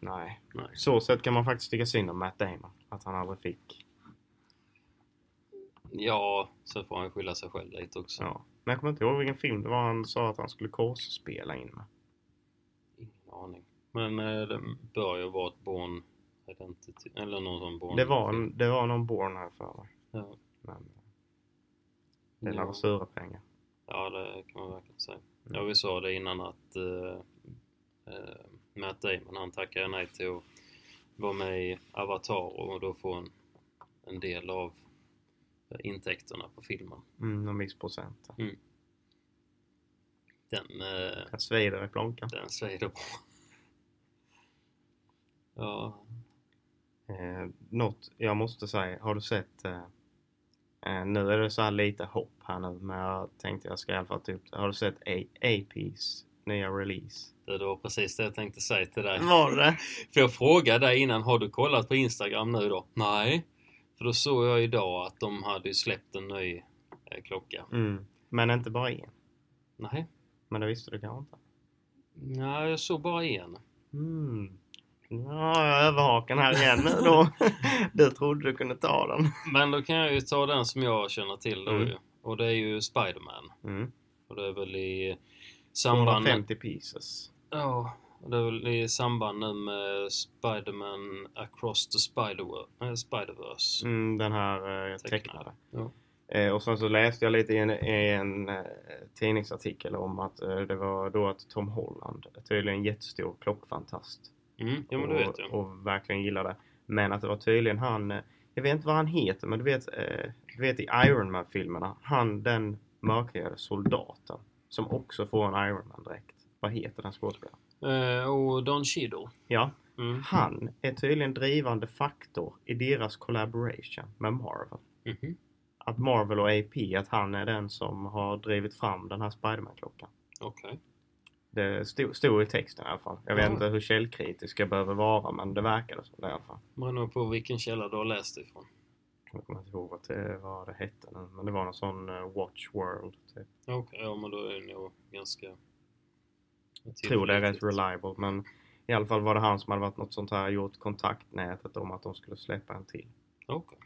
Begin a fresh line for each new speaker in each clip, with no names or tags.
Nej.
Nej.
Så sätt kan man faktiskt tycka synd om Matt Damon. Att han aldrig fick.
Ja, så får han skylla sig själv lite också.
Ja. Men jag kommer inte ihåg vilken film det var han sa att han skulle korsspela in med.
Ingen aning. Men eh, det bör ju vara ett Born Identity, eller någon sån Born...
Det var, det var någon Born här för mig.
Ja,
Men det är
ja.
några sura pengar.
ja, det kan man verkligen säga.
Mm.
Ja, vi sa det innan att eh, eh, Matt Damon, han tackade nej till att vara med i Avatar och då få en, en del av eh, intäkterna på filmen.
Mm, någon viss procent.
Den, eh,
Jag svider i plånkan.
den säger det bra. Ja,
Eh, något jag måste säga, har du sett... Eh, eh, nu är det så här lite hopp här nu, men jag tänkte jag ska i alla fall ta upp det. Har du sett A- AP's nya release?
det var precis det jag tänkte säga till dig.
Var det?
För jag frågade dig innan, har du kollat på Instagram nu då? Nej. För då såg jag idag att de hade ju släppt en ny eh, klocka.
Mm. Men inte bara en.
Nej.
Men det visste du kanske inte?
Nej, jag såg bara en.
Mm. Ja, jag överhaken här igen nu då. du trodde du kunde ta den.
Men då kan jag ju ta den som jag känner till då
Mm.
ju. Och det är ju Spiderman.
Mm.
Och det är väl i samband med...
250 pieces.
Ja. Och det är väl i samband nu med Spiderman Across the Spider- eh, Spider-Verse.
Mm, den här eh, tecknade.
Tecknade. Ja.
Eh, och sen så läste jag lite i en, i en eh, tidningsartikel om att eh, det var då att Tom Holland tydligen en jättestor klockfantast.
Mm. Ja, men det vet
och,
jag.
och verkligen gillade. Men att det var tydligen han, eh, jag vet inte vad han heter, men du vet, eh, du vet i Iron Man-filmerna, han den mörkhyade soldaten som också får en Iron Man-dräkt. Vad heter den skådespelaren?
Eh, och Don Cheadle.
Ja,
Mm.
han är tydligen drivande faktor i deras collaboration med Marvel.
Mhm.
Att Marvel och AP, att han är den som har drivit fram den här Spiderman-klockan.
Okej.
Det stod, stod i texten i alla fall. Jag vet
Ja.
inte hur källkritisk jag behöver vara, men det verkade så i alla fall.
Beror på vilken källa du har läst ifrån.
Jag kommer inte ihåg vad det, vad det hette nu, men det var någon sån eh, Watch World. Typ.
Okej, ja men då är det nog ganska... Jag
Jag tror det är rätt reliable, men i alla fall var det han som hade varit något sånt här, gjort kontaktnätet om att de skulle släppa en till.
Okej.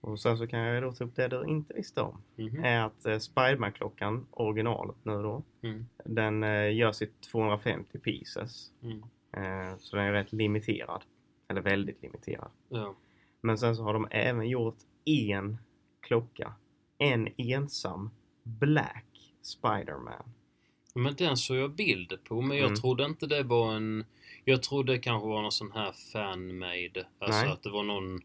Och sen så kan jag ju då ta upp det du inte visste om.
Mhm.
Är att eh, Spiderman-klockan, originalet nu då,
Mm.
den eh, görs i 250 pieces.
Mm.
Eh, så den är rätt limiterad. Eller väldigt limiterad.
Ja.
Men sen så har de även gjort en klocka. En ensam Black Spiderman.
Men den såg jag bild på, men jag
Mm.
trodde inte det var en... Jag trodde det kanske var någon sån här fan-made. Alltså
Nej.
att det var någon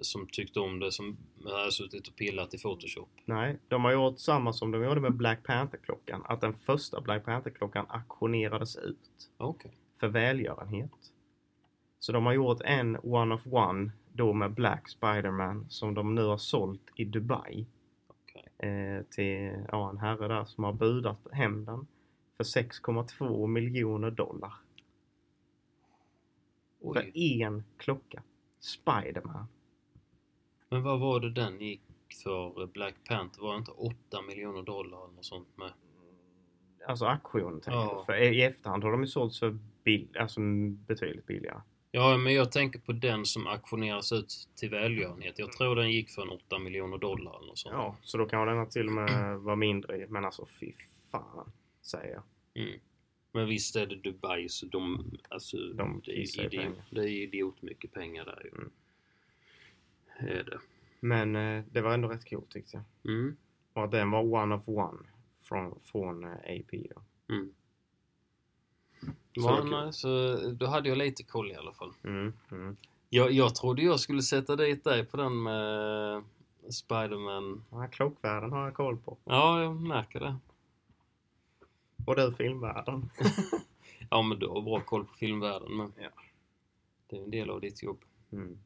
som tyckte om det som hade suttit och pillat i Photoshop.
Nej, de har gjort samma som de gjorde med Black Panther-klockan. Att den första Black Panther-klockan auktionerades ut
Okej.
för välgörenhet. Så de har gjort en One of One då med Black Spiderman som de nu har sålt i Dubai.
Okej.
eh, till ja, en herre där som har budat hem den för 6,2 miljoner dollar.
Oj.
För en klocka. Spiderman.
Men vad var det den gick för Black Panther? Var det inte 8 miljoner dollar eller något sånt med?
Alltså auktion tänker
Ja.
jag. För i i efterhand har de ju sålts för bill- alltså, betydligt billigare.
Ja, men jag tänker på den som auktioneras ut till välgörenhet. Jag tror den gick för en 8 miljoner dollar eller något sånt.
Ja, så då kan den till och med vara mindre. Men alltså fy fan. Säger jag.
Mm. Men visst är det Dubai så de... Alltså,
De
det,
kissar
är
i
idiot,
pengar.
det är idiot mycket pengar där ju.
Mm.
Är det.
Men eh, det var ändå rätt coolt tyckte jag.
Mm.
Och att den var one of one från, från eh, AP då.
Mm.
Så det
Så,
var kul.
nej, så eh, då hade jag lite koll i alla fall.
Mm, mm.
Jag, jag trodde jag skulle sätta dit dig på den med Spiderman.
Den här klockvärlden har jag koll på.
Ja, jag märker det.
Och du filmvärlden.
Ja, men du har bra koll på filmvärlden. Men
Ja.
Det är en del av ditt jobb.
Mm.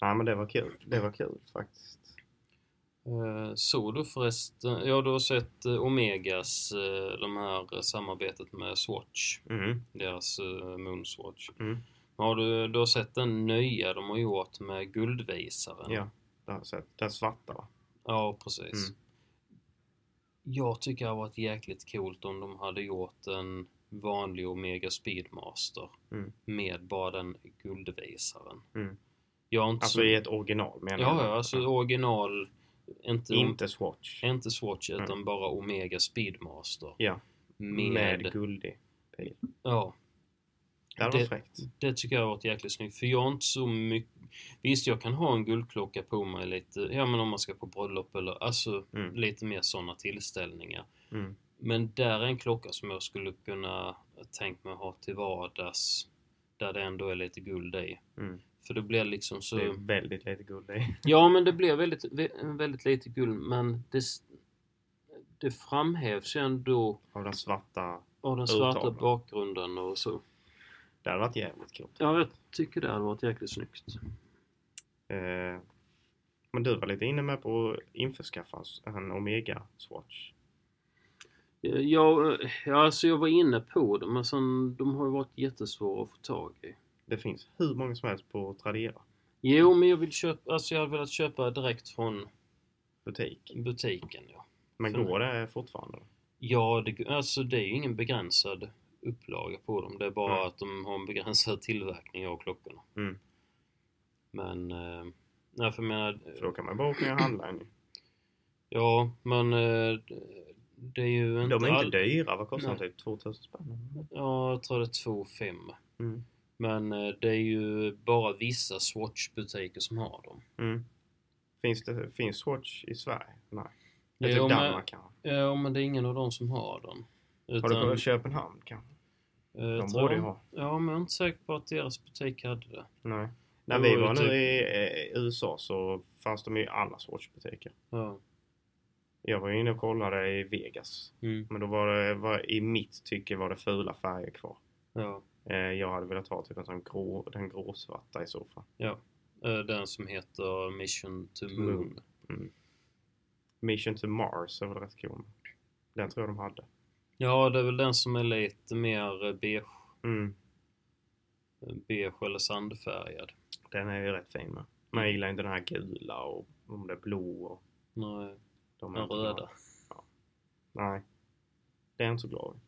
Nej men det var kul. Det var kul faktiskt.
Eh, Såg du förresten, ja du har sett eh, Omegas, eh, de här eh, samarbetet med Swatch,
Mm.
deras eh, Moonswatch.
Mm.
Har du, du har sett den nya de har gjort med Guldvisaren?
Ja, det har jag sett. Den svarta va?
Ja, precis.
Mm.
Jag tycker det hade varit jäkligt coolt om de hade gjort en vanlig Omega Speedmaster
Mm.
med bara den guldvisaren.
Mm.
Jag har inte
Alltså
så...
i ett original menar
Ja,
jag.
ja, alltså original... Inte,
Inte Swatch.
inte Swatch, utan
Mm.
bara Omega Speedmaster.
Ja.
Med...
Med, guldig.
Ja,
Det hade varit
Det-
fräckt.
det tycker jag har varit jäkligt snyggt. För jag har inte så mycket... Visst, jag kan ha en guldklocka på mig lite, ja men om man ska på bröllop eller alltså
Mm.
lite mer sådana tillställningar.
Mm.
Men där är en klocka som jag skulle kunna tänka mig ha till vardags. Där det ändå är lite guld i.
Mm.
För det blir liksom så...
Det är väldigt lite guld i.
Ja, men det blev väldigt, vä- väldigt lite guld, men det, s- det framhävs ju ändå
Av den svarta.
av den svarta
Uttagen.
bakgrunden och så.
Det hade varit jävligt kul.
Ja, jag tycker det hade varit jäkligt snyggt.
Eh, men du var lite inne med på att införskaffa en Omega Swatch.
Jag, ja, alltså jag var inne på det, men sen, de har ju varit jättesvåra att få tag i.
Det finns hur många som helst på Tradera
Jo, men jag vill köpa, alltså jag hade velat köpa direkt från
butik.
butiken, ja.
Men
För-
går det fortfarande?
Ja, det, alltså det är ju ingen begränsad upplaga på dem. Det är bara
Nej.
att de har en begränsad tillverkning av klockorna.
Mm.
Men, eh, nej för jag menar,
För då kan man bara åka ner och handla en.
ja men eh, det är ju inte,
De är
all-
inte dyra. Vad kostar de?
Nej.
Typ 2000 spänn?
Ja, jag tror det är 2,5.
Mm.
Men eh, det är ju bara vissa Swatch-butiker som har dem.
Mm. Finns, det, finns Swatch i Sverige? Nej. Det är
Jo,
typ
men-
Danmark kanske?
Eh, Ja, men det är ingen av dem som har dem.
Har
Utan,
du kollat Köpenhamn kanske?
eh,
De
tror
borde ju
jag-
ha.
Ja, men jag är inte säker på att deras butik hade det.
Nej. När
Jo,
vi var
typ-
nu i eh, USA så fanns de ju i alla Swatch-butiker.
Ja.
Jag var ju inne och kollade i Vegas.
Mm.
Men då var det, var, i mitt tycke var det fula färger kvar.
ja.
Eh, jag hade velat ha typ en sån grå, den gråsvarta i så fall.
Eh, Den som heter Mission to Moon.
Moon. Mission to Mars är väl rätt cool. Den tror jag de hade.
Ja, det är väl den som är lite mer eh, beige,
Mm.
beige eller sandfärgad.
Den är ju rätt fin med. Men jag gillar inte den här gula och om det är blå och
Nej,
de är
den
inte glada.
röda.
Nej. Det är jag inte så glad över.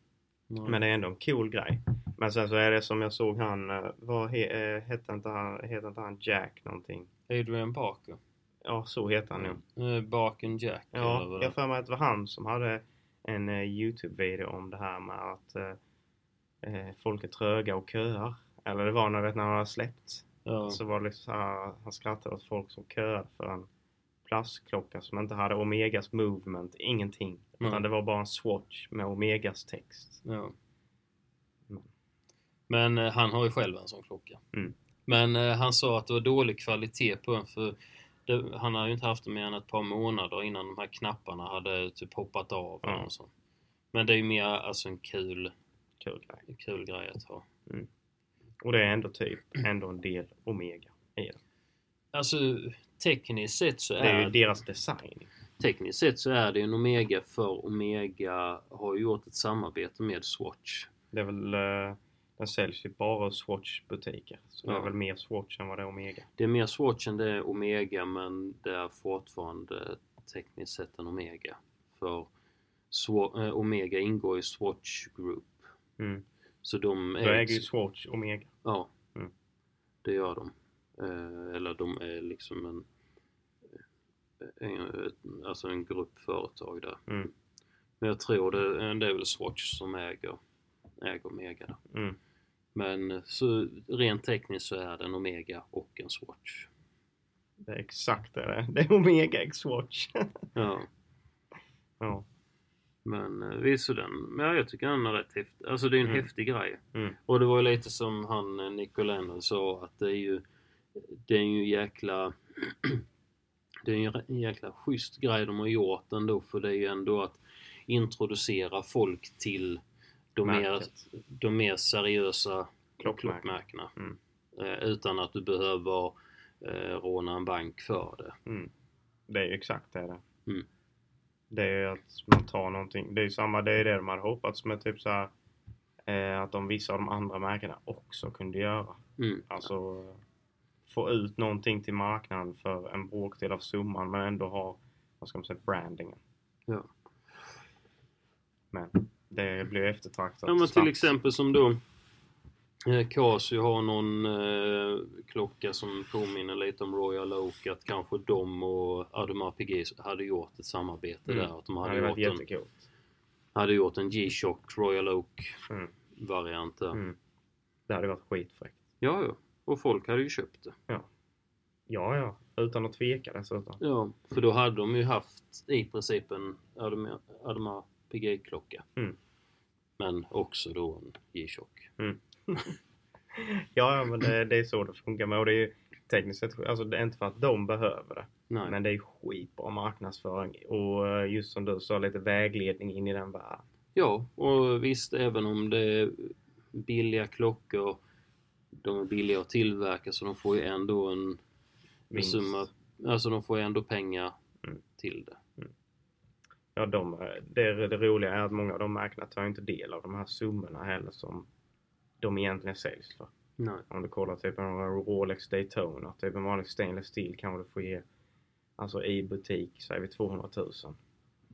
Nej.
Men det är ändå en cool grej. Men sen så är det som jag såg han, eh, vad he, eh, hette inte han, hette inte han Jack någonting?
Adrian Barker.
Ja, så heter han nu.
Eh, Barken Jack. eller
Ja,
vad
jag har
det
för mig att det var han som hade en eh, Youtube-video om det här med att eh, eh, folk är tröga och köar. Eller det var när, vet, när han hade släppt.
ja.
Så var det liksom så här, han skrattade åt folk som köade för en plastklocka som inte hade Omegas movement, ingenting.
Mm.
Utan det var bara en swatch med Omegas text.
Ja.
Mm.
Men eh, han har ju själv en sån klocka.
Mm.
Men eh, han sa att det var dålig kvalitet på den för det, han har ju inte haft den mer än ett par månader innan de här knapparna hade typ hoppat av.
Ja.
eller Och så. Men det är ju mer alltså en kul,
Kul grej.
kul grej att ha.
Och det är ändå typ, ändå en del Omega i det.
Alltså tekniskt sett så
Det är ju
är,
deras design.
tekniskt sett så är det ju en Omega för Omega har ju gjort ett samarbete med Swatch.
Det är väl, eh, den säljs ju bara i Swatch-butiker. Så det
Ja.
är väl mer Swatch än vad det är Omega.
Det är mer Swatch än det är Omega men det är fortfarande tekniskt sett en Omega. För Swa- eh, Omega ingår i Swatch Group.
Mm.
Så de
Då äger
ägs-
ju Swatch Omega.
Ja,
Mm.
det gör de. Eh, eller de är liksom en, en, alltså en grupp företag där.
Mm.
Men jag tror det, det är väl Swatch som äger, äger Omega. Där.
Mm.
Men eh, så rent tekniskt så är det en Omega och en Swatch.
Det är exakt det det är. Det är Omega X-Watch.
Ja.
ja.
Men eh, visst så den, men ja, jag tycker den är rätt häftig. Alltså det är en
Mm.
häftig grej.
Mm.
Och det var ju lite som han eh, Nicoleno sa att det är ju Det är ju jäkla Det är ju en jäkla schysst grej de har gjort ändå för det är ju ändå att introducera folk till de, mer,
Märket.
de mer seriösa
Klockmärket.
klockmärkena.
Mm.
Eh, utan att du behöver eh, råna en bank för det.
Mm. Det är ju exakt det det
Mm.
Det är ju att man tar någonting. Det är ju samma, det är ju det de hade hoppats med typ så här. Eh, att de vissa av de andra märkena också kunde göra.
Mm.
Alltså få ut någonting till marknaden för en bråkdel av summan men ändå ha, vad ska man säga, brandingen. Men det blir eftertraktat.
Ja men till
snabbt.
exempel som då eh, Casio har någon eh, klocka som påminner lite om Royal Oak att kanske de och Audemars Piguet hade gjort ett samarbete
Mm.
där. Att de
Det
hade,
hade varit
gjort, en,
jättekult.
hade gjort en G-Shock Royal Oak
Mm.
variant där.
Mm. Det hade varit skitfräckt.
Ja, ja. Och folk hade ju köpt det.
Ja, ja. Utan att tveka dessutom.
Ja, för då hade de ju haft i princip en Audemars- Audemars Piguet-klocka.
Mm.
Men också då en G-Shock.
Ja, ja men det, det är så det funkar med. Och det är ju tekniskt sett, alltså det är inte för att de behöver det.
Nej.
Men det är ju skitbra marknadsföring och eh, just som du sa, lite vägledning in i den världen.
Ja, och visst, även om det är billiga klockor, de är billiga att tillverka så de får ju ändå en
Vinst.
summa, alltså de får ju ändå pengar
Mm.
till det.
Ja, de, eh, det, det roliga är att många av de märkena tar ju inte del av de här summorna heller som de egentligen säljs för.
Nej.
Om du kollar typ en Rolex Daytona, typ en vanlig stainless steel kanske du får ge alltså i butik säger vi 200 000.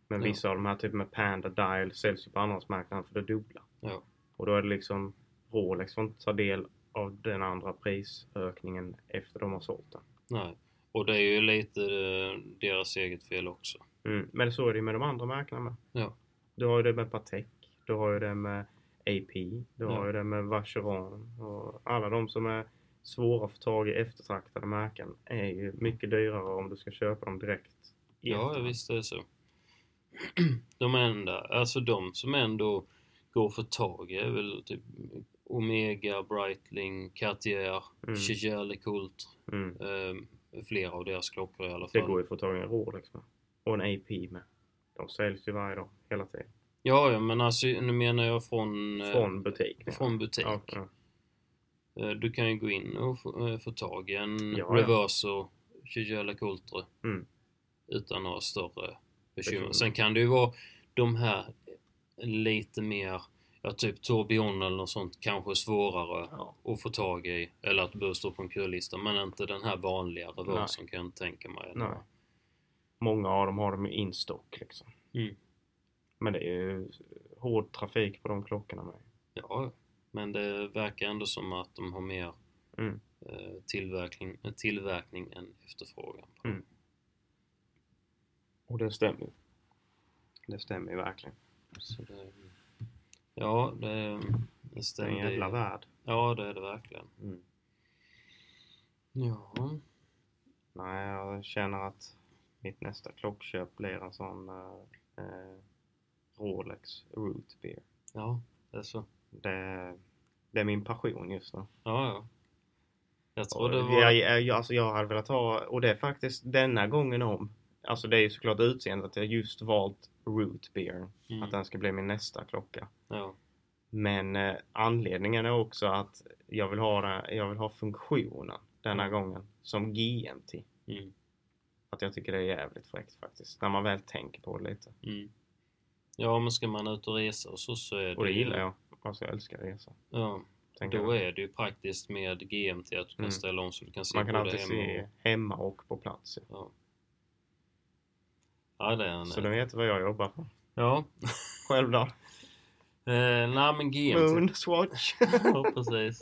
Men
Ja.
vissa av de här typ med Panda Dial säljs ju på andrahandsmarknaden för det dubbla.
Ja.
Och då är det liksom Rolex får inte ta del av den andra prisökningen efter de har sålt den.
Nej. Och det är ju lite eh, deras eget fel också.
Mm. Men så är det ju med de andra märkena med.
Ja.
Du har ju det med Patek, du har ju det med AP, du har
Ja.
ju det med Vacheron och alla de som är svåra att få tag i eftertraktade märken är ju mycket dyrare om du ska köpa dem direkt. i
Ja,
efterhand.
visst är det så. De enda, alltså de som ändå går för tag är väl typ Omega, Breitling, Cartier,
Mm.
Chigère LeCoultre,
Mm.
eh, flera av deras klockor i alla
Det
fall.
går ju att få tag i en Rolex med. Och en AP med. De säljs ju varje dag, hela tiden.
Ja, ja, men alltså nu menar jag från, eh,
Från butik. ja.
från butik.
Ja, ja.
Eh, Du kan ju gå in och få, eh, få tag i en
Ja, ja.
Reverso Chigella Coultre
Mm.
utan några större bekymmer.
Bekymmer.
Sen kan det ju vara de här lite mer, ja typ Torbjörn eller något sånt, kanske svårare
Ja.
att få tag i eller att det behöver stå på en kullista men inte den här vanliga Reverson kan jag inte tänka mig.
Nej. Många av dem har dem i instock liksom.
Mm.
Men det är ju hård trafik på de klockorna med.
Ja, men det verkar ändå som att de har mer
Mm.
eh, tillverkning, eh, tillverkning än efterfrågan.
Mm. Och det stämmer ju. Det stämmer ju verkligen.
Så det, ja, det, det
Det Mm. är en
stämmer.
jävla värld.
Ja, det är det verkligen. Ja,
Nej, jag känner att mitt nästa klockköp blir en sån eh, eh, Rolex Root Beer.
ja det är så.
Det, det är min passion just nu.
Ja, ja. Jag tror
Och
det
jag,
var...
jag, jag- alltså jag hade velat ha, och det är faktiskt denna gången om. Alltså det är ju såklart utseendet att jag just valt Root Beer. Att
Mm,
den ska bli min nästa klocka.
ja,
Men eh, anledningen är också att jag vill ha, den- jag vill ha funktionen denna gången som GMT.
mm,
Att jag tycker det är jävligt fräckt faktiskt. När man väl tänker på det lite.
mm. ja, men ska man ut och resa och så, så är det
Och det
ju-
gillar jag. Alltså jag älskar resa.
Ja,
Tänker
då
jag.
är det ju praktiskt med GMT att du kan
Mm.
ställa om så du kan se
Man kan
både
alltid
hemma
se
och...
hemma och på plats.
Ja. ja, det är en...
Så du vet vad jag jobbar på.
Ja.
Själv då?
Eh, nej, men GMT.
Moonswatch?
ja, precis.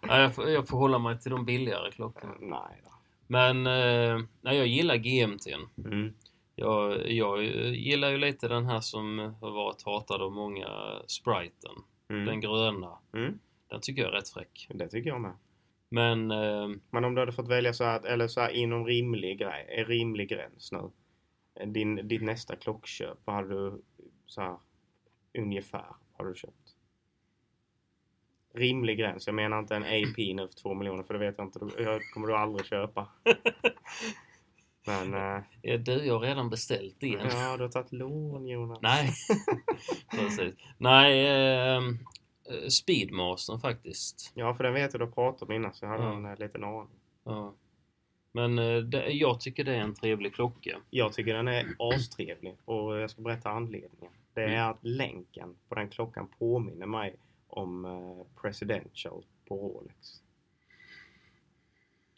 Ja, jag, får, jag får hålla mig till de billigare klockorna.
Nej då.
Men eh, nej, jag gillar GMT'n.
Mm.
Jag, jag eh, gillar ju lite den här som har varit hatad av många, eh, Spriten. Den
Mm.
gröna.
Mm.
Den tycker jag är rätt fräck.
Det tycker jag med.
Men eh,
Men om du hade fått välja så här, eller så här inom rimlig, grej- en rimlig gräns nu. Din, ditt nästa klockköp, vad hade du så här ungefär har du köpt? Rimlig gräns, jag menar inte en AP nu för 2 miljoner för det vet jag inte, då- jag kommer du aldrig köpa. Men, eh,
eh, du, jag har redan beställt en.
ja du har tagit lån Jonas.
Nej, precis. Nej, eh, eh, Speedmastern faktiskt.
Ja för den vet jag du har pratat om innan så jag hade
Ja.
en eh, liten aning.
Ja. Men eh, det, jag tycker det är en trevlig klocka.
Jag tycker den är astrevlig och jag ska berätta anledningen. Det är
Mm.
att länken på den klockan påminner mig om eh, Presidential på Rolex.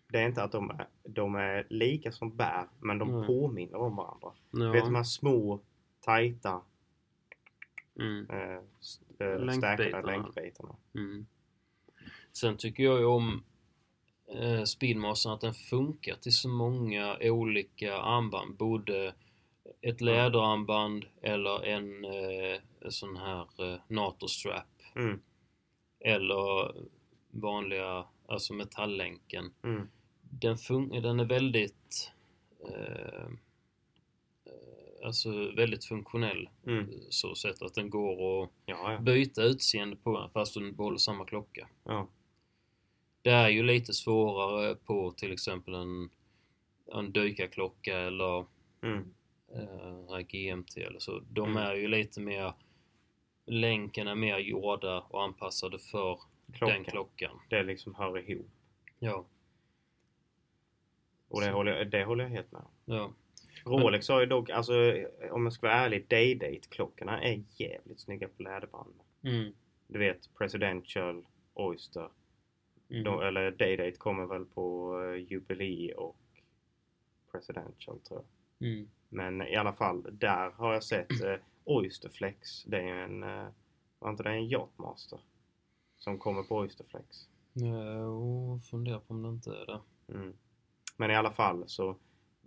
Det är inte att de är, de är lika som bär, men de
Nej.
påminner om varandra.
Ja.
Du vet de här små, tajta
Mm.
eh, s- eh,
Länkbitarna.
stärka länkbitarna.
Mm. Sen tycker jag ju om eh, Speedmastern att den funkar till så många olika armband. Både ett läderarmband eller en eh, sån här eh, NATO-strap.
Mm,
Eller vanliga, alltså metalllänken.
mm,
Den, fun- den är väldigt eh, eh, Alltså väldigt funktionell
mm.
så sätt att den går att
Ja, ja.
byta utseende på den fast du behåller samma klocka.
ja.
Det är ju lite svårare på till exempel en, en dykarklocka eller
Mm,
eh, här GMT eller så. De
Mm.
är ju lite mer, länken är mer gjorda och anpassade för den
klockan.
klockan.
Det liksom hör ihop.
Ja,
Och det
Så.
håller, jag, det håller jag helt med om.
ja.
Rolex har ju dock, alltså om jag ska vara ärlig, Day-Date-klockorna är jävligt snygga på läderband.
Mm.
Du vet Presidential, Oyster,
Mm.
de, eller Day-Date kommer väl på eh, Jubilee och Presidential tror jag.
Mm.
Men i alla fall, där har jag sett eh, Oysterflex. Det är ju en, eh, var inte det en Yachtmaster? Som kommer på Oysterflex.
Jo, funderar på om det inte är det.
Mm. Men i alla fall så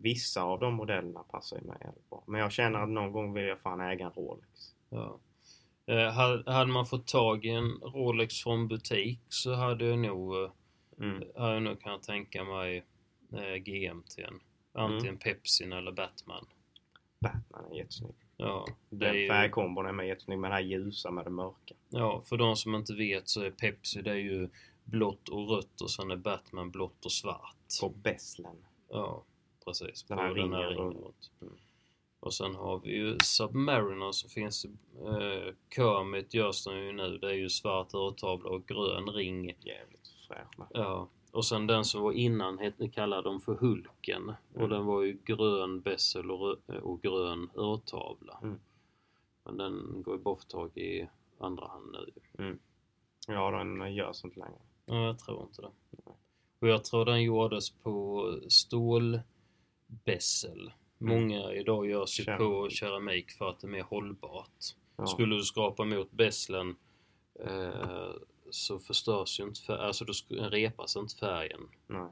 vissa av de modellerna passar ju mig jävligt bra. Men jag känner att någon gång vill jag fan äga en Rolex.
Ja. Eh, hade, hade man fått tag i en Rolex från butik så hade jag nog eh,
Mm.
Ja, nu kan jag tänka mig eh, GMT'n. Antingen
Mm.
Pepsin eller Batman.
Batman är jättesnygg.
Ja, det är
Den
ju,
färgkombon är med jättesnygg med det här ljusa med det mörka.
ja, för de som inte vet så är Pepsi det är ju blått och rött och sen är Batman blått och svart.
På Besslen.
Ja, precis.
Den
På
här ringen runt.
runt.
Mm.
Och sen har vi ju Submariner som finns eh, Kermit görs den ju nu. Det är ju svart urtavla och grön ring.
Jävligt fräsch med.
Ja. Och sen den som var innan hette, kallade de för Hulken. Och
Mm.
den var ju grön bessel och, rö- och grön urtavla.
Mm.
Men den går ju bara att få tag i andra hand nu.
Ja, den görs inte längre.
Nej, jag tror inte det. Och jag tror den gjordes på stålbessel. Många idag görs ju på
Keramik.
keramik för att det är mer hållbart.
Ja.
Skulle du skrapa mot besslen eh, så förstörs ju inte färgen, alltså då sk- repas inte färgen.
Nej.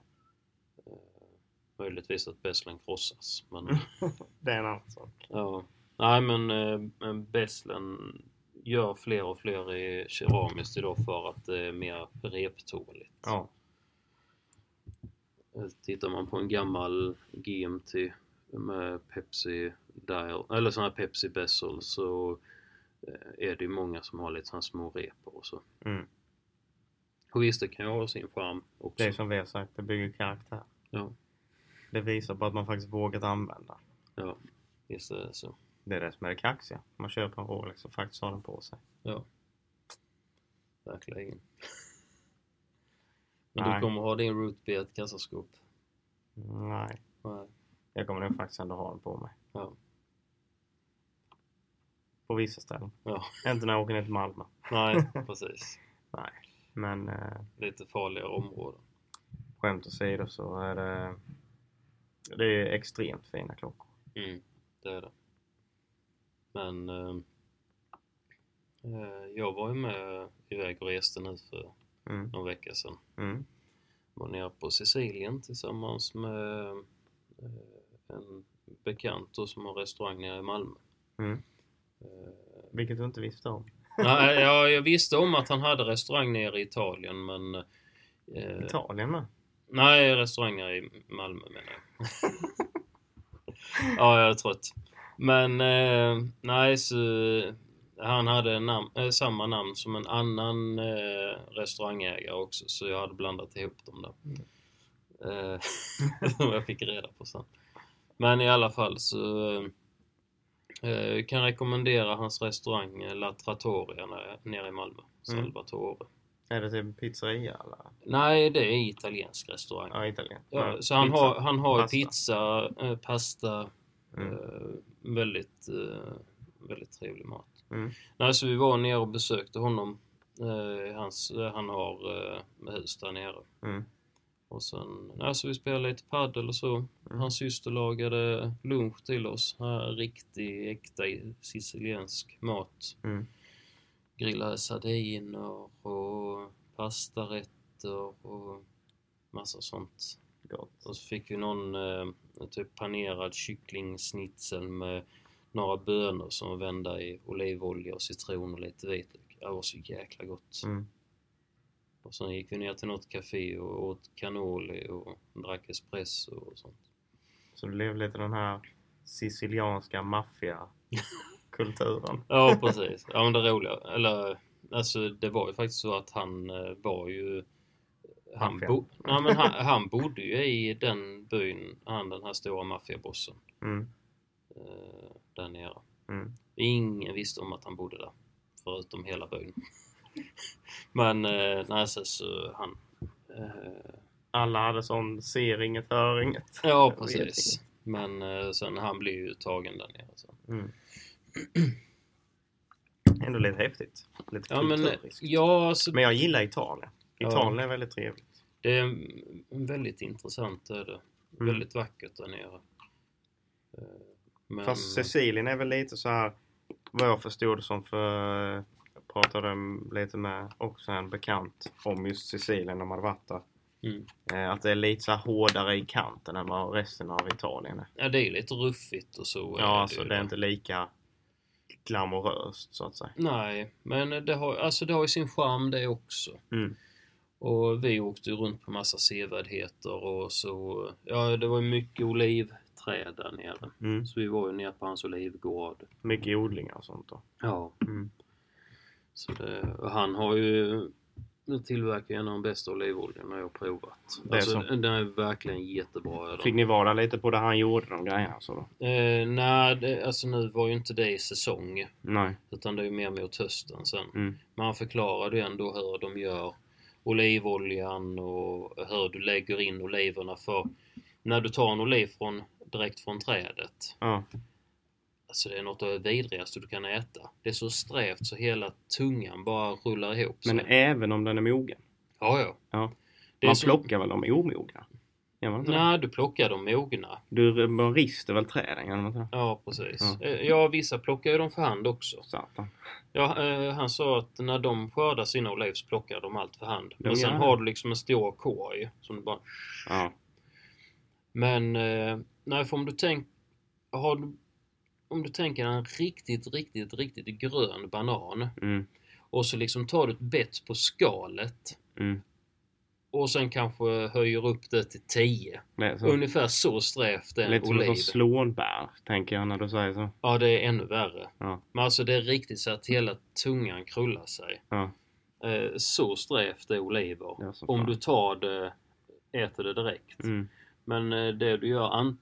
Möjligtvis att Besslen krossas.
Mm.
Men,
Det är en annan sak.
ja. Nej, men eh, men Besslen gör fler och fler i keramiskt idag för att det är mer reptåligt. Eh,
Ja.
Tittar man på en gammal GMT med Pepsi dial, eller sådana här Pepsi Bessel så eh, är det ju många som har lite sådana små repor och så.
Mm.
Och visst, det kan ju ha sin charm också.
Det är som vi har sagt, det bygger karaktär.
Ja,
Det visar på att man faktiskt vågat använda.
ja, visst är det så.
Det är det som är det kaxiga. Man köper en Rolex och faktiskt har den på sig.
Ja. Verkligen. Men du
Nej.
kommer ha din root B i ett kassaskåp?
Nej,
Nej.
jag kommer nog faktiskt ändå ha den på mig.
Ja.
På vissa ställen.
ja.
Inte när jag åker ner till Malmö.
Nej, precis.
Men eh,
Lite farligare områden.
skämt åsido så är det... Det är extremt fina klockor.
Mm, det är det. Men eh, eh, jag var ju med iväg och reste nu för
Mm.
någon vecka sedan.
Mm.
Var nere på Sicilien tillsammans med eh, en bekant då som har restaurang nere i Malmö.
Mm.
Eh,
Vilket du inte visste om.
Nej, ja, jag visste om att han hade restaurang nere i Italien, men... Eh,
Italien med.
nej, restaurang nere i Malmö menar jag. ja, jag är trött. Men, eh, nej, så, han hade nam- eh, samma namn som en annan eh, restaurangägare också, så jag hade blandat ihop dem där. Eh, som jag fick reda på sen. Men i alla fall så eh, kan rekommendera hans restaurang eh, La Trattoria nere- nere i Malmö.
Mm.
Salvatore.
Är det typ en pizzeria eller?
Nej, det är italiensk restaurang.
Ja, Italien.
Ja,
Ja,
så han
pizza.
har, han har
Pasta.
pizza, eh, pasta,
Mm.
eh, väldigt, eh, väldigt trevlig mat.
Mm.
Nej, så vi var nere och besökte honom. Eh, hans, eh, han har eh, hus där nere.
Mm.
Och sen, nej, så vi spelade lite padel och så.
Mm.
Hans syster lagade lunch till oss. Här, riktig, äkta siciliensk mat.
Mm.
grillade sardiner och pastarätter och massa sånt.
Gott.
Och så fick vi någon eh, typ panerad kycklingsnitzel med några bönor som var vända i olivolja och citron och lite vitlök. Det var så jäkla gott.
Mm.
Och sen gick vi ner till något café och åt cannoli och drack espresso och sånt.
Så du lever lite den här sicilianska maffiakulturen.
Ja, precis. Ja, men det roliga, eller alltså det var ju faktiskt så att han eh, var ju han,
Maffian.
bo, nej, men han, han bodde ju i den byn, han den här stora maffiabossen
Mm.
eh, där nere.
Mm.
Ingen visste om att han bodde där, förutom hela byn. men eh, nej, sen så han... Eh,
Alla hade sån ser inget, hör inget.
ja,
vet
precis. Men eh, sen han blev ju tagen där nere. Så.
Mm. Ändå lite häftigt. Lite
Ja, men, eh,
kulturiskt.
ja, alltså,
Typ Men jag gillar Italien.
Ja.
Italien är väldigt trevligt.
det är en- en väldigt intressant öde.
Mm.
Väldigt vackert där nere. Eh, Men,
Fast Sicilien är väl lite så här vad jag förstod det som för jag pratade lite med också en bekant om just Sicilien när man hade varit där.
mm.
Eh, Att det är lite så här hårdare i kanten än vad resten av Italien är.
ja, det är lite ruffigt och så. är
Ja, alltså
ju
det är
då.
inte lika glamoröst så att säga.
Nej, men det har, alltså, det har ju sin charm det också.
Mm.
Och vi åkte ju runt på massa sevärdheter och så. Ja, det var ju mycket olivträd där nere.
Mm.
Så vi var ju nere på hans olivgård.
Mycket odlingar och sånt då.
Ja.
Mm.
Så det, och han har ju nu tillverkar en av de bästa olivoljorna jag har provat.
Det är
alltså,
så.
den är verkligen jättebra. är den.
Fick ni vara där lite på det han gjorde de grejerna så då?
Eh, nej, det, alltså nu var ju inte det i säsong.
Nej.
Utan det är ju mer mot hösten sen.
Mm.
Men han förklarade ju ändå hur de gör olivoljan och hur du lägger in oliverna. För när du tar en oliv från, direkt från trädet.
Ja.
Alltså det är något av det vidrigaste du kan äta. Det är så strävt så hela tungan bara rullar ihop.
Men
sig.
även om den är mogen.
ja, ja.
Ja.
Det är
man
så-
plockar väl de omogna? Gör man inte det?
Nej, du plockar de mogna.
Du man rister väl träden? Gör man inte det?
Ja, precis.
Ja.
Eh, Ja, vissa plockar ju dem för hand också.
Satan.
Ja, eh, han sa att när de skördar sina olivs plockar de allt för hand.
De
Men sen
gör det.
har du liksom en stor korg som du bara...
Ja.
Men, eh, nej, för om du tänker... Har du... Om du tänker en riktigt, riktigt, riktigt grön banan
Mm.
och så liksom tar du ett bett på skalet
Mm.
och sen kanske höjer upp det till 10.
Det är så.
Ungefär så strävt är en
Lite som
oliv.
en slånbär, tänker jag när du säger så.
Ja, det är ännu värre.
Ja.
Men alltså det är riktigt så att hela tungan krullar sig.
Ja.
Eh, så strävt är oliver.
Ja, som
Om
fan.
du tar det, äter det direkt.
Mm.
Men eh, det du gör, an-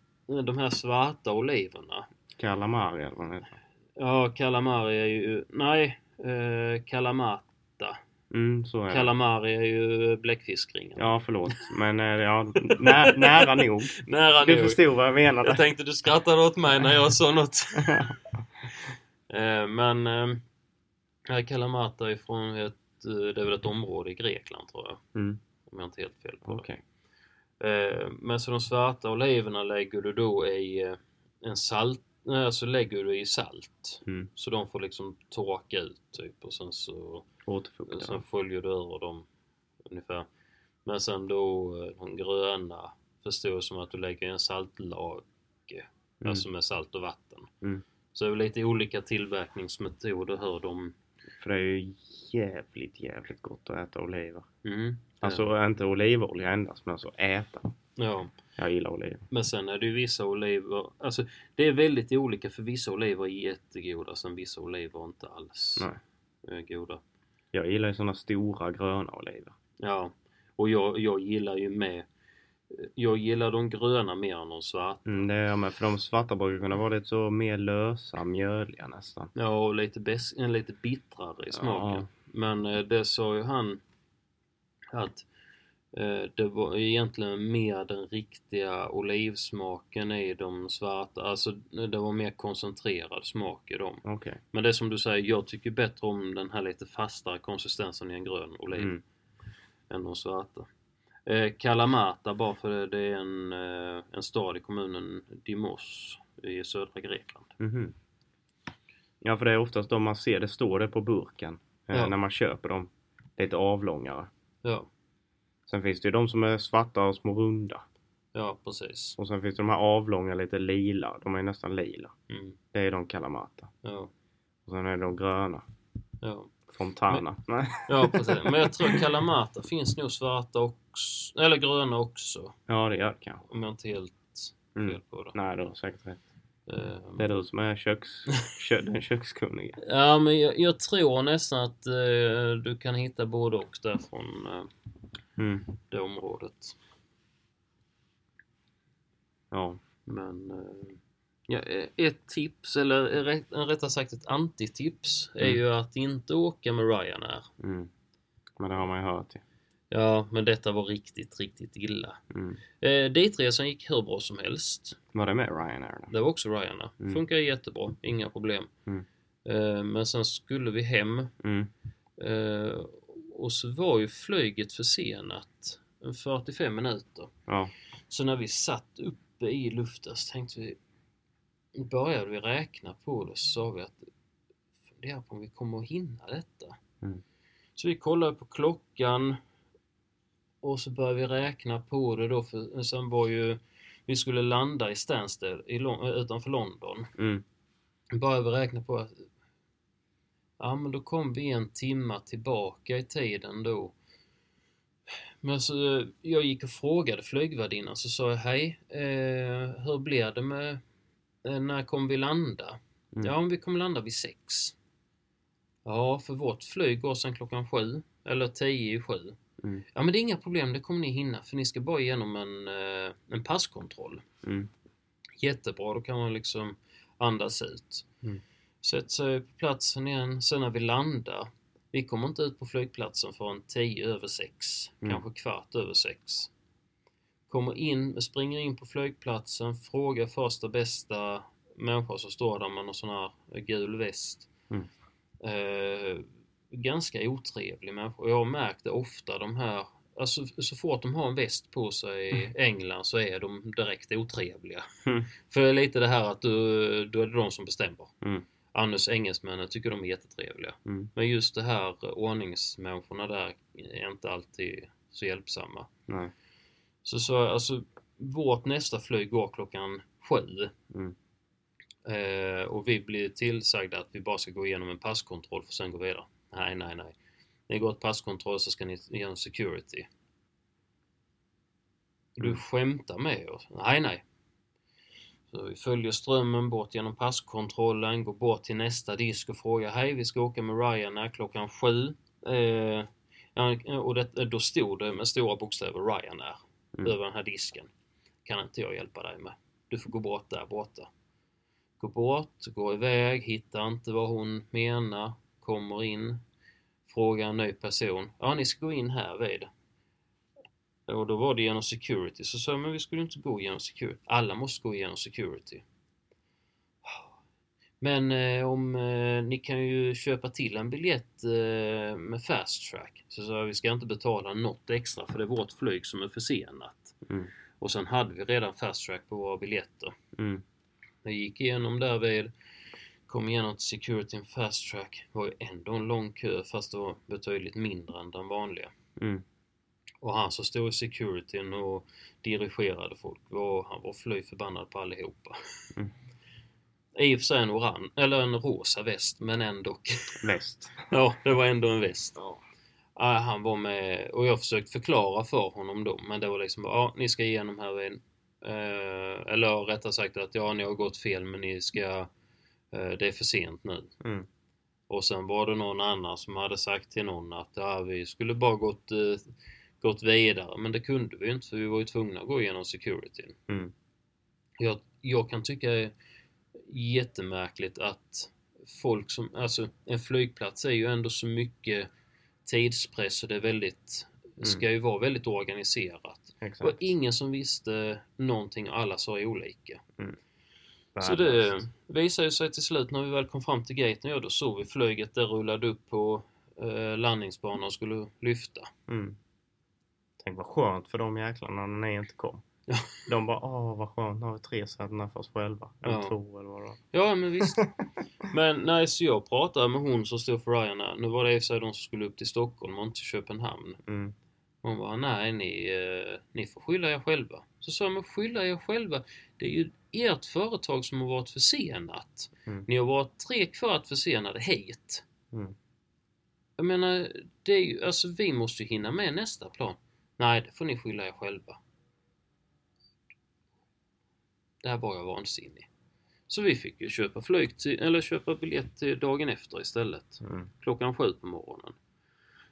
de här svarta oliverna.
Calamari eller vad den heter.
Ja, kalamari är ju... Nej, eh, kalamata.
Mm, så är det.
Kalamari är ju bläckfiskringen.
Ja, förlåt. Men eh, ja, nä, nära nog.
Nära
Du
nog.
förstod vad jag menade.
Jag tänkte du skrattade åt mig när jag sa något. Eh, Men eh, här Kalamata är från ett, eh, det är väl ett område i Grekland tror jag.
Mm,
Om jag inte helt fel på det.
Okej.
Eh, Men så de svarta oliverna lägger du då i eh, en salt, nej, alltså lägger du i salt.
Mm.
Så de får liksom torka ut typ och sen så
Återfukta.
Sen följer du över dem ungefär. Men sen då eh, de gröna förstår som att du lägger i en saltlake.
Mm.
Alltså med salt och vatten.
Mm.
Så det är lite olika tillverkningsmetoder hur de...
För det är ju jävligt, jävligt gott att äta oliver.
Mm.
Alltså inte olivolja endast, men alltså äta.
Ja.
Jag gillar oliver.
Men sen är det ju vissa oliver... Alltså det är väldigt olika för vissa oliver är jättegoda sen vissa oliver är inte alls
Nej.
eh, goda.
Jag gillar ju såna stora gröna oliver.
Ja. Och jag, jag gillar ju med... eh, Jag gillar de gröna mer än de svarta.
Mm, det är jag med. För de svarta brukar kunna vara lite så mer lösa, mjöliga nästan.
Ja, och lite, bäs- en lite bittrare i smaken. Men eh, det sa ju han att eh, det var egentligen mer den riktiga olivsmaken i de svarta. Alltså det var mer koncentrerad smak i dem.
Okej.
Men det är som du säger, jag tycker bättre om den här lite fastare konsistensen i en grön oliv
Mm.
än de svarta. Eh, Kalamata bara för det, det är en, eh, en stad i kommunen Dimos i södra Grekland.
Mhm. Ja, för det är oftast de man ser, det står det på burken. eh,
Ja.
när man köper dem. Lite avlångare.
Ja,
Sen finns det ju de som är svarta och små runda.
ja precis.
Och sen finns det de här avlånga lite lila. De är nästan lila.
Mm.
Det är de Kalamata.
Ja,
Och sen är det de gröna.
ja.
Fontana. Nej.
ja, precis. Men jag tror Kalamata finns nog svarta också, eller gröna också.
Ja, det gör det kanske.
Om jag inte helt
Mm.
fel på det.
Nej, du har säkert rätt.
Ehm,
Det är du som är köks, kö, den kökskunnige.
Ja, men jag, jag tror nästan att eh, du kan hitta både och där från eh,
Mm.
det området.
Ja.
Men eh, ja, eh, ett tips, eller eh, rätt- eh, rättare sagt ett antitips, är
Mm.
ju att inte åka med Ryanair.
Mm. Men det har man ju hört. ju.
Ja, men detta var riktigt, riktigt illa.
Mm.
Eh, ditresan gick hur bra som helst.
Var det med Ryanair? Då?
Det var också Ryanair.
Mm.
Funkar jättebra, inga problem.
Mm.
Eh, men sen skulle vi hem
Mm.
eh, och så var ju flyget försenat en 45 minuter.
Ja.
Så när vi satt uppe i luften så tänkte vi, började vi räkna på det så sa vi att fundera på om vi kommer att hinna detta.
Mm.
Så vi kollade på klockan och så började vi räkna på det då för sen var ju, vi skulle landa i Stansted i, Lon- utanför London.
Mm.
Började vi räkna på att ja men då kom vi en timma tillbaka i tiden då. Men så, eh, jag gick och frågade flygvärdinnan så sa jag hej, eh, hur blir det med, eh, när kommer vi landa?
Mm.
Ja, om vi kommer landa vid sex. Ja, för vårt flyg går sen klockan sju, eller tio i sju.
Mm.
Ja, men det är inga problem, det kommer ni hinna, för ni ska bara igenom en, eh, en passkontroll.
Mm.
Jättebra, då kan man liksom andas ut.
Mm.
Sätter sig på platsen igen, sen när vi landar. Vi kommer inte ut på flygplatsen förrän 10 över 6,
Mm.
kanske kvart över 6. Kommer in, springer in på flygplatsen, frågar första bästa människa som står där med någon sån här gul väst.
Mm.
Eh, ganska otrevlig människa. Och Jag har märkt det ofta, de här Alltså, så fort de har en väst på sig i England så är de direkt otrevliga.
Mm.
För det är lite det här att du, då är det de som bestämmer.
Mm.
Annars engelsmännen tycker de är jättetrevliga.
Mm.
Men just det här eh, ordningsmänniskorna där är inte alltid så hjälpsamma.
Nej.
Så, så alltså, vårt nästa flyg går klockan sju.
Mm.
Eh, och vi blir tillsagda att vi bara ska gå igenom en passkontroll för sen gå vidare. Nej, nej, nej. Ni går ett passkontroll så ska ni igenom security. Du
Mm.
skämtar med oss? Nej, nej. Så vi följer strömmen bort genom passkontrollen, går bort till nästa disk och frågar Hej, vi ska åka med Ryanair klockan sju. Eh, ja, och det, då stod det med stora bokstäver Ryanair
Mm.
över den här disken. Kan inte jag hjälpa dig med. Du får gå bort där borta. Går bort, går iväg, hittar inte vad hon menar, kommer in, frågar en ny person. Ja, ni ska gå in här vid. Och då var det genom security. Så sa jag, men vi skulle inte gå genom security. Alla måste gå genom security. Men eh, om eh, ni kan ju köpa till en biljett eh, med fast track. Så sa jag, vi ska inte betala något extra för det är vårt flyg som är försenat.
Mm.
Och sen hade vi redan fast track på våra biljetter.
Mm.
Jag gick igenom därvid, kom igenom till securityn fast track. Det var ju ändå en lång kö fast det var betydligt mindre än den vanliga.
Mm.
Och han som stod i securityn och dirigerade folk, var, han var fly förbannad på allihopa.
Mm.
I och för sig en oran, eller en rosa väst, men ändå.
Väst.
Ja, det var ändå en väst. Ja, han var med och jag försökte förklara för honom då, men det var liksom bara, ja, ni ska igenom här vid, eh, eller rättare sagt att ja, ni har gått fel, men ni ska, eh, det är för sent nu.
Mm.
Och sen var det någon annan som hade sagt till någon att ja, vi skulle bara gått, eh, gått vidare, men det kunde vi ju inte för vi var ju tvungna att gå igenom securityn.
Mm.
Jag, jag kan tycka det är jättemärkligt att folk som, alltså en flygplats är ju ändå så mycket tidspress och det är väldigt, ska ju vara väldigt organiserat. Det var
Exakt.
ingen som visste någonting och alla sa ju olika. Så det
Värdelöst.
visade ju sig till slut när vi väl kom fram till gaten, ja då såg vi flyget, det rullade upp på eh, landningsbanan och skulle lyfta.
Mm. Tänk vad skönt för de jäklarna när ni inte kom.
Ja.
De bara åh vad skönt, nu har vi tre söner för oss själva. Eller
Ja.
två eller vad det var.
Ja, men visst. Men nej, så jag pratade med hon som stod för Ryanair. Nu var det i och för sig de som skulle upp till Stockholm och inte till Köpenhamn.
Mm.
Hon bara, nej ni, eh, ni får skylla er själva. Så sa jag, men skylla er själva. Det är ju ert företag som har varit försenat.
Mm.
Ni har varit tre kvart försenade hit.
Mm.
Jag menar, det är ju, alltså vi måste ju hinna med nästa plan. Nej, det får ni skylla er själva. Där var jag vansinnig. Så vi fick ju köpa flyg till, eller köpa biljett till dagen efter istället
Mm.
klockan sju på morgonen.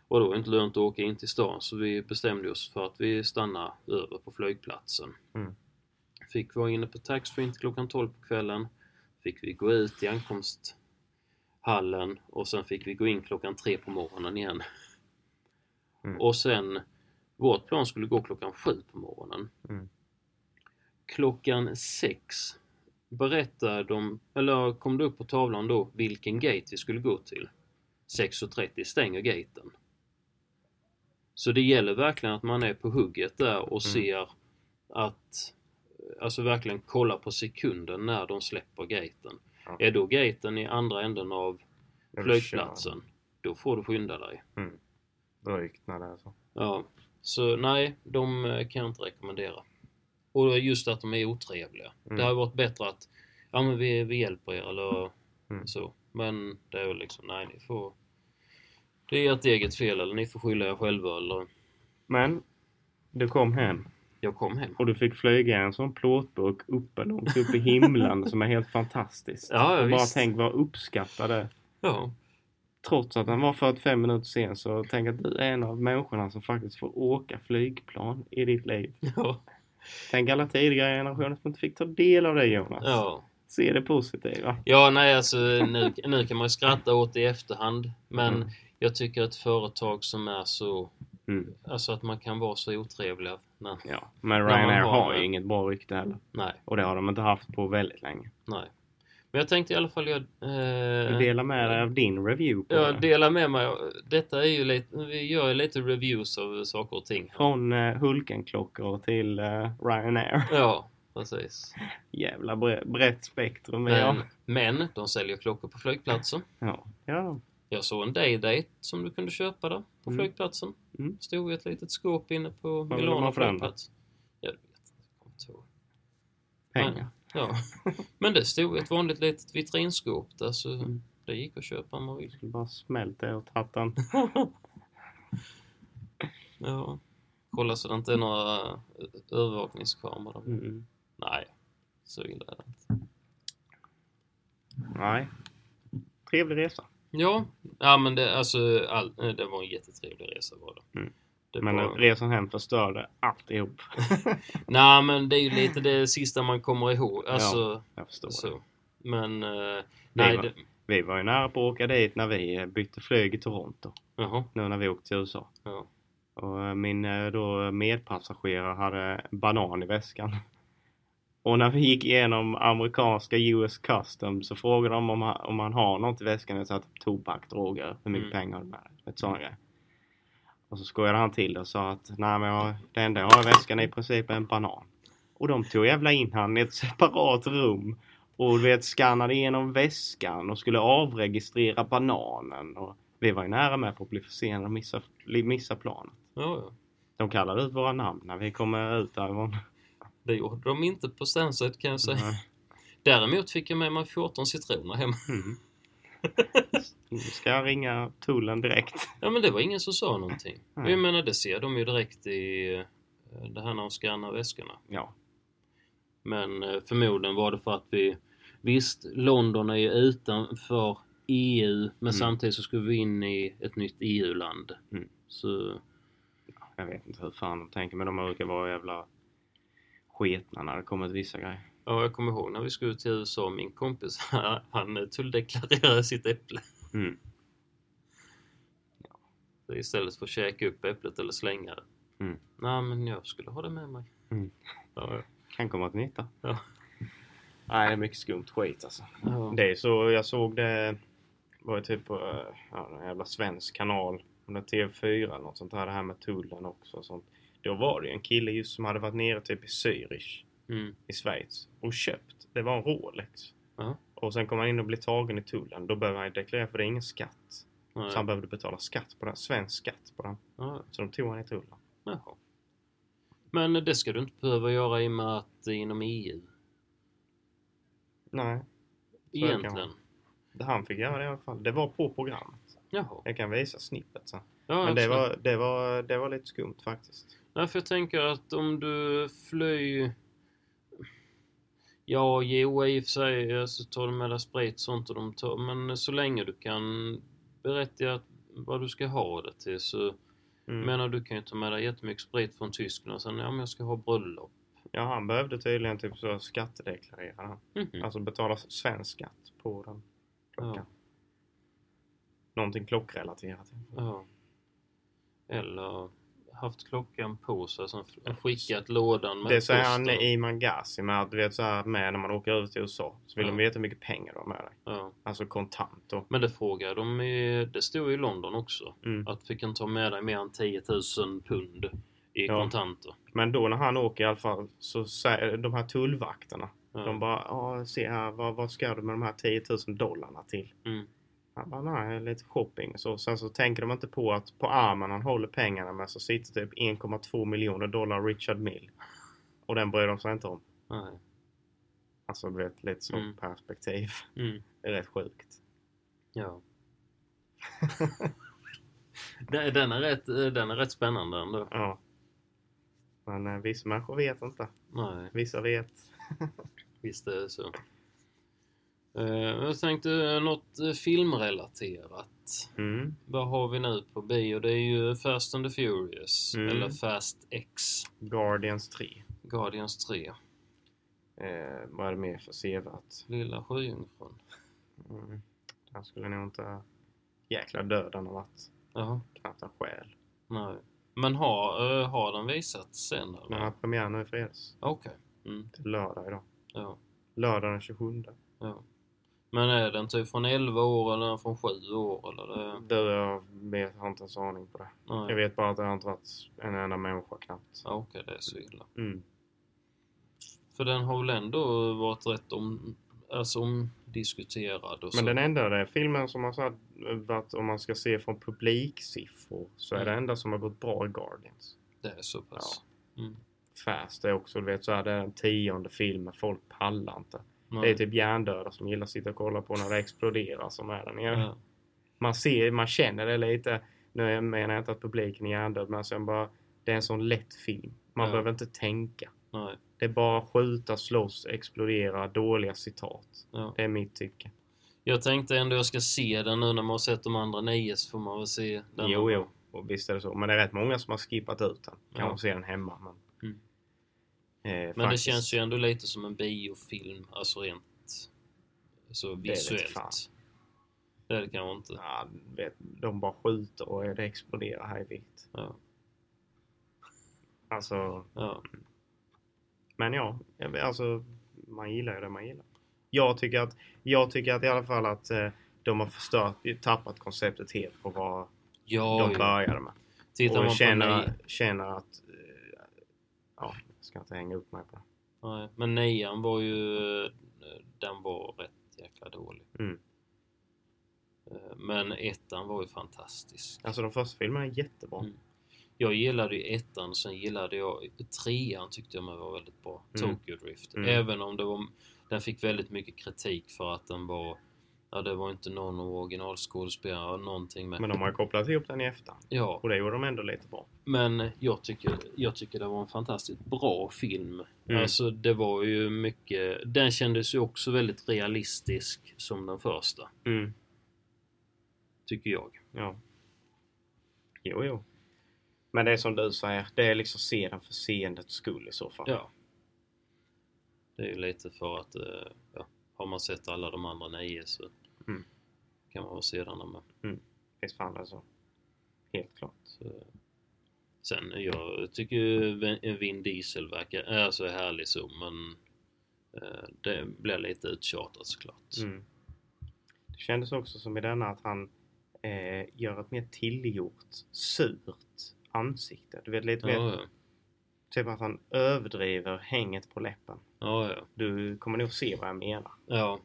Och det var inte lönt att åka in till stan så vi bestämde oss för att vi stannade över på flygplatsen.
Mm.
Fick vara inne på taxfree till klockan 12 på kvällen. Fick vi gå ut i ankomsthallen och sen fick vi gå in klockan tre på morgonen igen.
Mm.
Och sen, vårt plan skulle gå klockan sju på morgonen.
Mm.
Klockan sex berättade de, eller kom det upp på tavlan då, vilken gate vi skulle gå till. 6.30 stänger gaten. Så det gäller verkligen att man är på hugget där och ser att, alltså verkligen kolla på sekunden när de släpper gaten.
Ja.
Är då gaten i andra änden av
Jag vill
flygplatsen, då får du skynda dig.
köra. Mm. Drygt när det är så.
Ja, så nej, de eh, kan jag inte rekommendera. Och just att de är otrevliga.
Mm.
Det hade varit bättre att, ja men vi, vi hjälper er eller
Mm.
så. Men det är väl liksom, nej ni får, det är ert eget fel eller ni får skylla er själva eller,
Men du kom hem
jag kom hem.
och du fick flyga i en sån plåtburk uppe långt upp i himlen som är helt fantastiskt.
Ja, ja
och bara
visst.
tänk vad uppskattade
Ja,
Trots att den var 45 minuter sen så tänk att du är en av människorna som faktiskt får åka flygplan i ditt liv.
ja,
Tänk alla tidigare generationer som inte fick ta del av det Jonas.
ja.
Se det positiva.
Ja, nej alltså nu, nu kan man ju skratta åt det i efterhand. Men
Mm.
jag tycker att företag som är så,
Mm.
alltså att man kan vara så otrevliga. Men,
Ja, men
När man
Ryanair
har
har ju
det.
inget bra rykte heller.
nej,
Och det har de inte haft på väldigt länge.
nej. Men jag tänkte i alla fall jag...
Du
Eh,
delar med dig av din review på
Jag
det.
delar med mig. Detta är ju lite, vi gör ju lite reviews av saker och ting.
Från eh, Hulkenklockor till eh, Ryanair.
Ja, precis.
Jävla bre- brett spektrum.
Men,
Men...
men de säljer klockor på flygplatsen.
Ja. ja.
Jag såg en Day-Date som du kunde köpa där på
Mm.
flygplatsen.
Mm
Stod i ett litet skåp inne på
vill de
Milano
ha för den då?
flygplats. Jag vet inte. jag kommer inte ihåg.
Pengar.
Ja. Men det stod ett vanligt litet vitrinskåp där så
Mm.
det gick att köpa om man vill.
Skulle bara smälta åt hatten.
Ja. Kolla så det inte är några eh, övervakningskameror.
Mm.
Nej, så illa är det inte.
Nej. Trevlig resa.
Ja, ja men det, alltså, all, eh, det var en jättetrevlig resa var det.
Mm.
det
Men
var,
resan hem förstörde alltihop.
Nej men det är ju lite det sista man kommer ihåg. Alltså,
Jag förstår det.
så. Men, eh, nej
var-
det,
Vi var ju nära på att åka dit när vi eh, bytte flyg i Toronto.
jaha,
Nu när vi åkte till USA.
ja.
Och eh, min eh, då medpassagerare hade banan i väskan. Och när vi gick igenom amerikanska US Custom så frågade de om han, om han har något i väskan. Jag sa typ tobak, droger, hur mycket
Mm.
pengar har du med dig? Ett sånt grej. Och så skojade han till det och sa att nej men jag, det enda jag har i väskan är i princip en banan. Och de tog jävla in han i ett separat rum. Och du vet skannade igenom väskan och skulle avregistrera bananen. Och vi var ju nära med på att bli försenade och missa, missa planen.
ja, ja.
De kallade ut våra namn när vi kom ut därifrån.
Det gjorde de inte på Stansett kan jag säga. Däremot fick jag med mig 14 citroner hem.
Mm. Nu ska jag ringa tullen direkt.
Ja men det var ingen som sa någonting.
Nej.
Jag menar det ser de ju direkt i eh, det här när de skannar väskorna.
Ja.
Men eh, förmodligen var det för att vi Visst, London är ju utanför EU men
Mm.
samtidigt så skulle vi in i ett nytt EU-land.
Mm.
Så
Jag vet inte hur fan de tänker men de brukar vara jävla sketna när det kommer till vissa grejer.
ja, jag kommer ihåg när vi skulle till USA min kompis han eh, tulldeklarerade sitt äpple.
Mm.
Så Istället för att käka upp äpplet eller slänga det.
Mm.
Nej men jag skulle ha det med mig.
Mm.
Ja, ja.
Kan komma till nytta.
Ja.
Nej, det är mycket skumt skit alltså.
Ja.
Det är så, jag såg det var ju typ på eh, ja, en jävla svensk kanal, om det är TV4 eller något sånt här, det här med tullen också och sånt. Då var det ju en kille just som hade varit nere typ i Zürich
Mm.
i Schweiz och köpt. Det var en Rolex.
Ja.
Och sen kom han in och blev tagen i tullen. Då behöver han ju deklarera för det är ingen skatt.
Nej.
Så han behövde betala skatt på den. Svensk skatt på den.
Ja,
Så de tog han i tullen.
jaha. Men eh, det ska du inte behöva göra i och med att det är inom E EU.
Nej, kan man.
Egentligen.
det han fick göra det i alla fall. Det var på programmet.
Jaha.
Jag kan visa snippet sen.
Ja,
Men det
absolut.
var, det, var, det var lite skumt faktiskt.
Nej, för jag tänker att om du flyr... Ja, jo, i och för sig så tar de med dig sprit och sånt och de tar... Men så länge du kan berätta att- vad du ska ha det till så...
Mm.
Jag menar, du kan ju ta med dig jättemycket sprit från Tyskland och sen, ja men jag ska ha bröllop.
Ja, han behövde tydligen typ så skattedeklarera han.
Mhm.
Alltså betala svensk skatt på den klockan.
Ja.
Någonting klockrelaterat.
Ja. Eller haft klockan på sig, sen f- skickat lådan med
det säger han
posten.
i Mangasi med att du vet så här med när man åker över till USA så vill
Ja.
de veta hur mycket pengar du har med dig.
Ja.
Alltså kontant då.
Men det frågar de i, det stod ju i London också.
Mm.
Att fick han ta med dig mer än 10 000 pund i
Ja.
kontanter.
Men då när han åker i alla fall så säger de här tullvakterna.
Ja.
De bara ja se här vad, vad ska du med de här 10 000 dollarna till?
Mm.
Han bara nej lite shopping och så. Sen så tänker de inte på att på armen han håller pengarna med så sitter typ 1,2 miljoner dollar Richard Mill. Och den bryr de sig inte om.
Nej.
Alltså du vet lite så
Mm.
perspektiv.
Mm.
Det är rätt sjukt.
Ja. Den den är, rätt, den är rätt spännande ändå.
Ja. Men eh, vissa människor vet inte.
Nej,
Vissa vet.
visst är det så. Eh, Jag tänkte något eh, filmrelaterat.
Mm.
Vad har vi nu på bio? Det är ju Fast and the Furious.
Mm.
Eller Fast X.
Guardians 3.
Guardians 3.
Eh, vad är det mer för sevärt?
Lilla Sjöjungfrun.
Mm. Där skulle nog inte... Jäkla döden har varit
Jaha.
knappt en själ.
Nej. Men har, eh, har den visats sen?
Den
eller?
har premiär nu i fredags.
Okej. Mm,
Det är lördag idag.
ja,
Lördag den 27.
ja. Men är den typ från 11 år eller är den från 7 år? Eller det...
Du, jag vet, har inte ens aning på det.
Nej.
Mm. Jag vet bara att det har inte varit en enda människa knappt.
Ja, okej, det är så illa.
Mm.
För den har väl ändå varit rätt om, alltså omdiskuterad och så.
Men den enda där filmen som har så här, eh, varit, om man ska se från publiksiffror, så är
Mm.
det enda som har gått bra i Guardians.
Det är så pass. Mm.
Fast är också, du vet, så här, det är den tionde filmen, folk pallar inte.
Nej.
Det är typ hjärndöda som gillar att sitta och kolla på när det exploderar som är där nere.
Ja.
Man ser, man känner det lite. Nu menar jag inte att publiken är hjärndöd, men sen bara, det är en sån lätt film. Man
Ja.
behöver inte tänka.
Nej.
Det är bara skjuta, slåss, explodera, dåliga citat.
Ja.
Det är mitt tycke.
Jag tänkte ändå jag ska se den nu när man har sett de andra nio så får man väl se den.
Jo, jo. Och visst är det så. Men det är rätt många som har skippat ut den. Kan
Ja.
man se den hemma. Men,
Mm.
Eh,
Men
faktiskt.
det känns ju ändå lite som en biofilm, alltså rent
Det
så
vet
visuellt.
fan.
Det är det kanske inte.
Ja, du vet, de bara skjuter och det exploderar här i vitt.
Ja.
Alltså,
Ja.
men ja. jag vet, Alltså, man gillar ju det man gillar. Jag tycker att, jag tycker att i alla fall att eh, de har förstört, tappat konceptet helt på vad
Ja,
de
ja.
började med.
tittar
och
man
jag
på nio,
känner, känner att... eh, Ja, jag ska inte hänga upp mig på det.
nej, men nian var ju, eh, den var rätt jäkla dålig.
Mm.
Eh, Men ettan var ju fantastisk.
Alltså de första filmerna är jättebra.
Mm. Jag gillade ju ettan, sen gillade jag trean tyckte jag mig var väldigt bra.
Mm.
Tokyo Drift.
Mm.
Även om det var, den fick väldigt mycket kritik för att den var, ja det var inte någon originalskådespelare, någonting med.
Men de har ju kopplat ihop den i efterhand.
Ja,
Och det gjorde de ändå lite bra.
men jag tycker, jag tycker det var en fantastiskt bra film.
Mm.
Alltså det var ju mycket, den kändes ju också väldigt realistisk som den första,
Mm.
tycker jag.
Ja. Jo, jo. Men det är som du säger, det är liksom se den för seendets skull i så fall.
Ja. Det är ju lite för att, eh, ja, har man sett alla de andra nio så
Mm.
kan man väl se den med.
Visst fan det är så. Helt klart.
Så. Sen, jag tycker ju Vin- eh, Vin Diesel verkar, är så härlig så, men eh, det blir lite uttjatat såklart.
Mm. Det kändes också som i denna att han eh, gör ett mer tillgjort, surt ansikte. Du vet lite mer
Ja, ja.
Typ att han överdriver hänget på läppen.
Ja, ja.
Du kommer nog se vad jag menar.
Ja,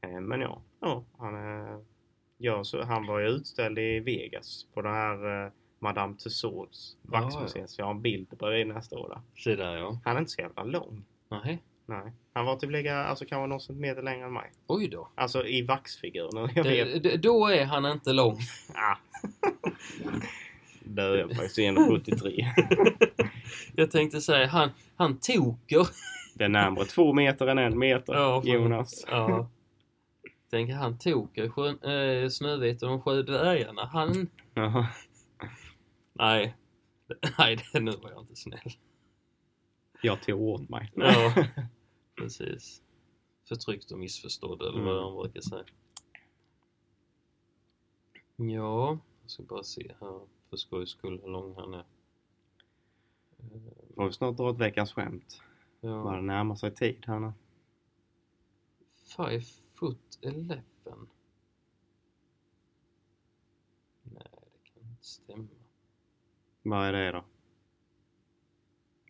Eh, Men ja, ja han, eh, ja så, han var ju utställd i Vegas på den här eh, Madame Tussauds
Ah, Ja,
vaxmuseet. Så jag har en bild på det nästa år. Där.
se där ja.
Han är inte så jävla lång.
Nej.
Nej. Han var typ lika, alltså kanske någon centimeter längre än mig.
Oj då.
Alltså i vaxfiguren. Jag vet.
Det, det, då är han inte lång.
Ah. Där är jag faktiskt 173.
Jag tänkte säga, han, han toker.
Det är närmare två meter än en meter,
Ja, fan.
Jonas.
Ja. Tänk han toker sjön, eh, Snövit och de sju dvärgarna. Han...
Jaha.
Nej. Nej, det, nu var jag inte snäll.
Jag tog åt mig.
Ja, precis. Förtryckt och missförstådd eller vad
Mm.
de brukar säga. Ja, jag ska bara se här för skojs skull hur lång han är.
Får vi snart dra ett veckans skämt. Bara
Ja,
det närmar sig tid här nu.
five foot eleven. Nej, det kan inte stämma.
Vad är det då?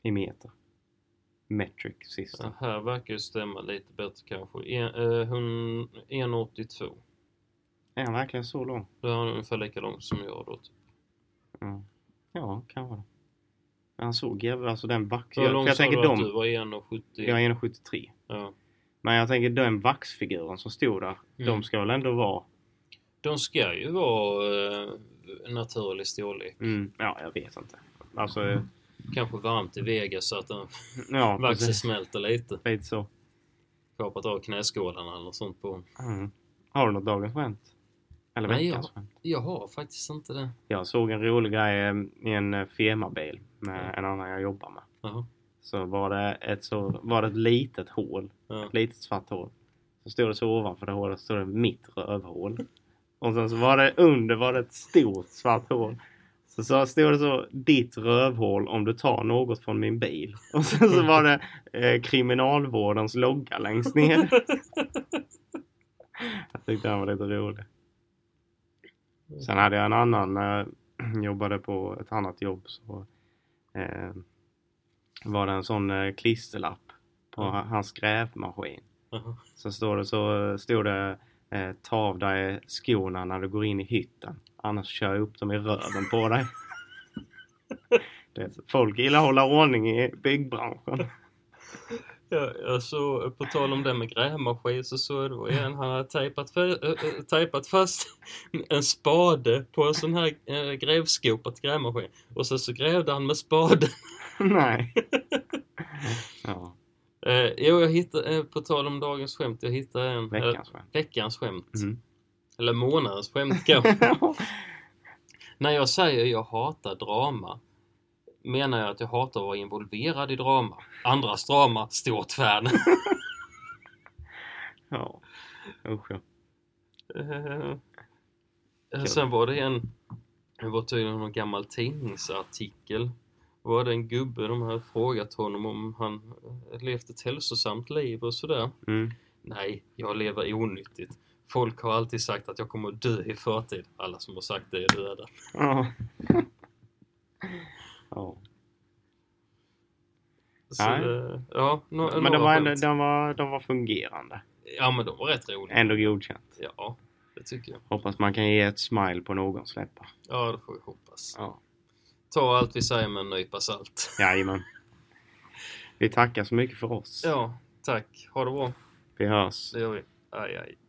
I meter. Metric sist.
Det här verkar ju stämma lite bättre kanske. En- eh, hon- 1,82.
Är han verkligen så lång?
Då är han ungefär lika lång som jag då. Typ.
Ja, ja kanske det. Men han såg jävla, alltså den vax...
Hur
Jag,
lång
för jag
sa
tänker
du att du
de...
var? 1,70?
Jag är 1,73.
Ja.
Men jag tänker den vaxfiguren som stod där,
Mm.
de ska väl ändå vara...
De ska ju vara eh, naturlig storlek.
Mm, ja, jag vet inte. Alltså, eh,
Mm. Kanske varmt i Vegas så att den
ja,
vaxen
precis.
smälter lite.
Lite så.
Kapat av knäskålarna eller sånt på
Mm. Har du något dagens skämt? Eller
Nej,
veckans skämt?
Jag har faktiskt inte det.
Jag såg en rolig grej eh, i en eh, firmabil med
Mm.
en annan jag jobbar med.
Jaha.
Så var det ett, så, var det ett litet hål,
Ja.
ett litet svart hål. Så stod det så ovanför det hålet, stod det mitt rövhål. Och sen så var det under var det ett stort svart hål. Så, så stod det så, ditt rövhål om du tar något från min bil. Och sen så var det eh, kriminalvårdens logga längst ner. Jag tyckte den var lite rolig. Sen hade jag en annan när jag jobbade på ett annat jobb så eh, var det en sån eh, klisterlapp på
Mm.
ha- hans grävmaskin.
Jaha.
Så står det så eh, stod det eh, ta av dig skorna när du går in i hytten annars kör jag upp dem i röven på dig. Det är så- Folk gillar att hålla ordning i byggbranschen.
Ja, jag såg, på tal om det med grävmaskin så såg jag då igen, han hade tejpat, fe- äh, äh, tejpat fast en spade på en sån här äh, grävskopa till grävmaskin. Och sen så grävde han med spaden.
Nej. Ja,
Eh, jo, jag hittade, eh, på tal om dagens skämt, jag hittade en... eh,
veckans skämt.
veckans skämt.
Mm.
Eller månadens skämt kanske. När jag säger jag hatar drama menar jag att jag hatar att vara involverad i drama. Andras drama, stort fan.
Ja, usch ja.
Eh, Sen var det en, det var tydligen någon gammal tidningsartikel. Var det en gubbe de hade frågat honom om han eh, levt ett hälsosamt liv och sådär.
Mm.
Nej, jag lever onyttigt. Folk har alltid sagt att jag kommer att dö i förtid. Alla som har sagt det är döda.
Ja. ja.
Så,
Nej.
eh, ja, nå-
Men
några
de var, ändå,
skämt.
de, var, de var fungerande.
Ja, men de var rätt roliga.
Ändå godkänt.
Ja, det tycker jag.
Hoppas man kan ge ett smile på någons läppar.
Ja, det får vi hoppas.
Ja.
Ta allt vi säger med en nypa salt.
Jajamän. Vi tackar så mycket för oss.
Ja, tack. Ha det bra.
Vi hörs.
Det gör vi. Aj, aj.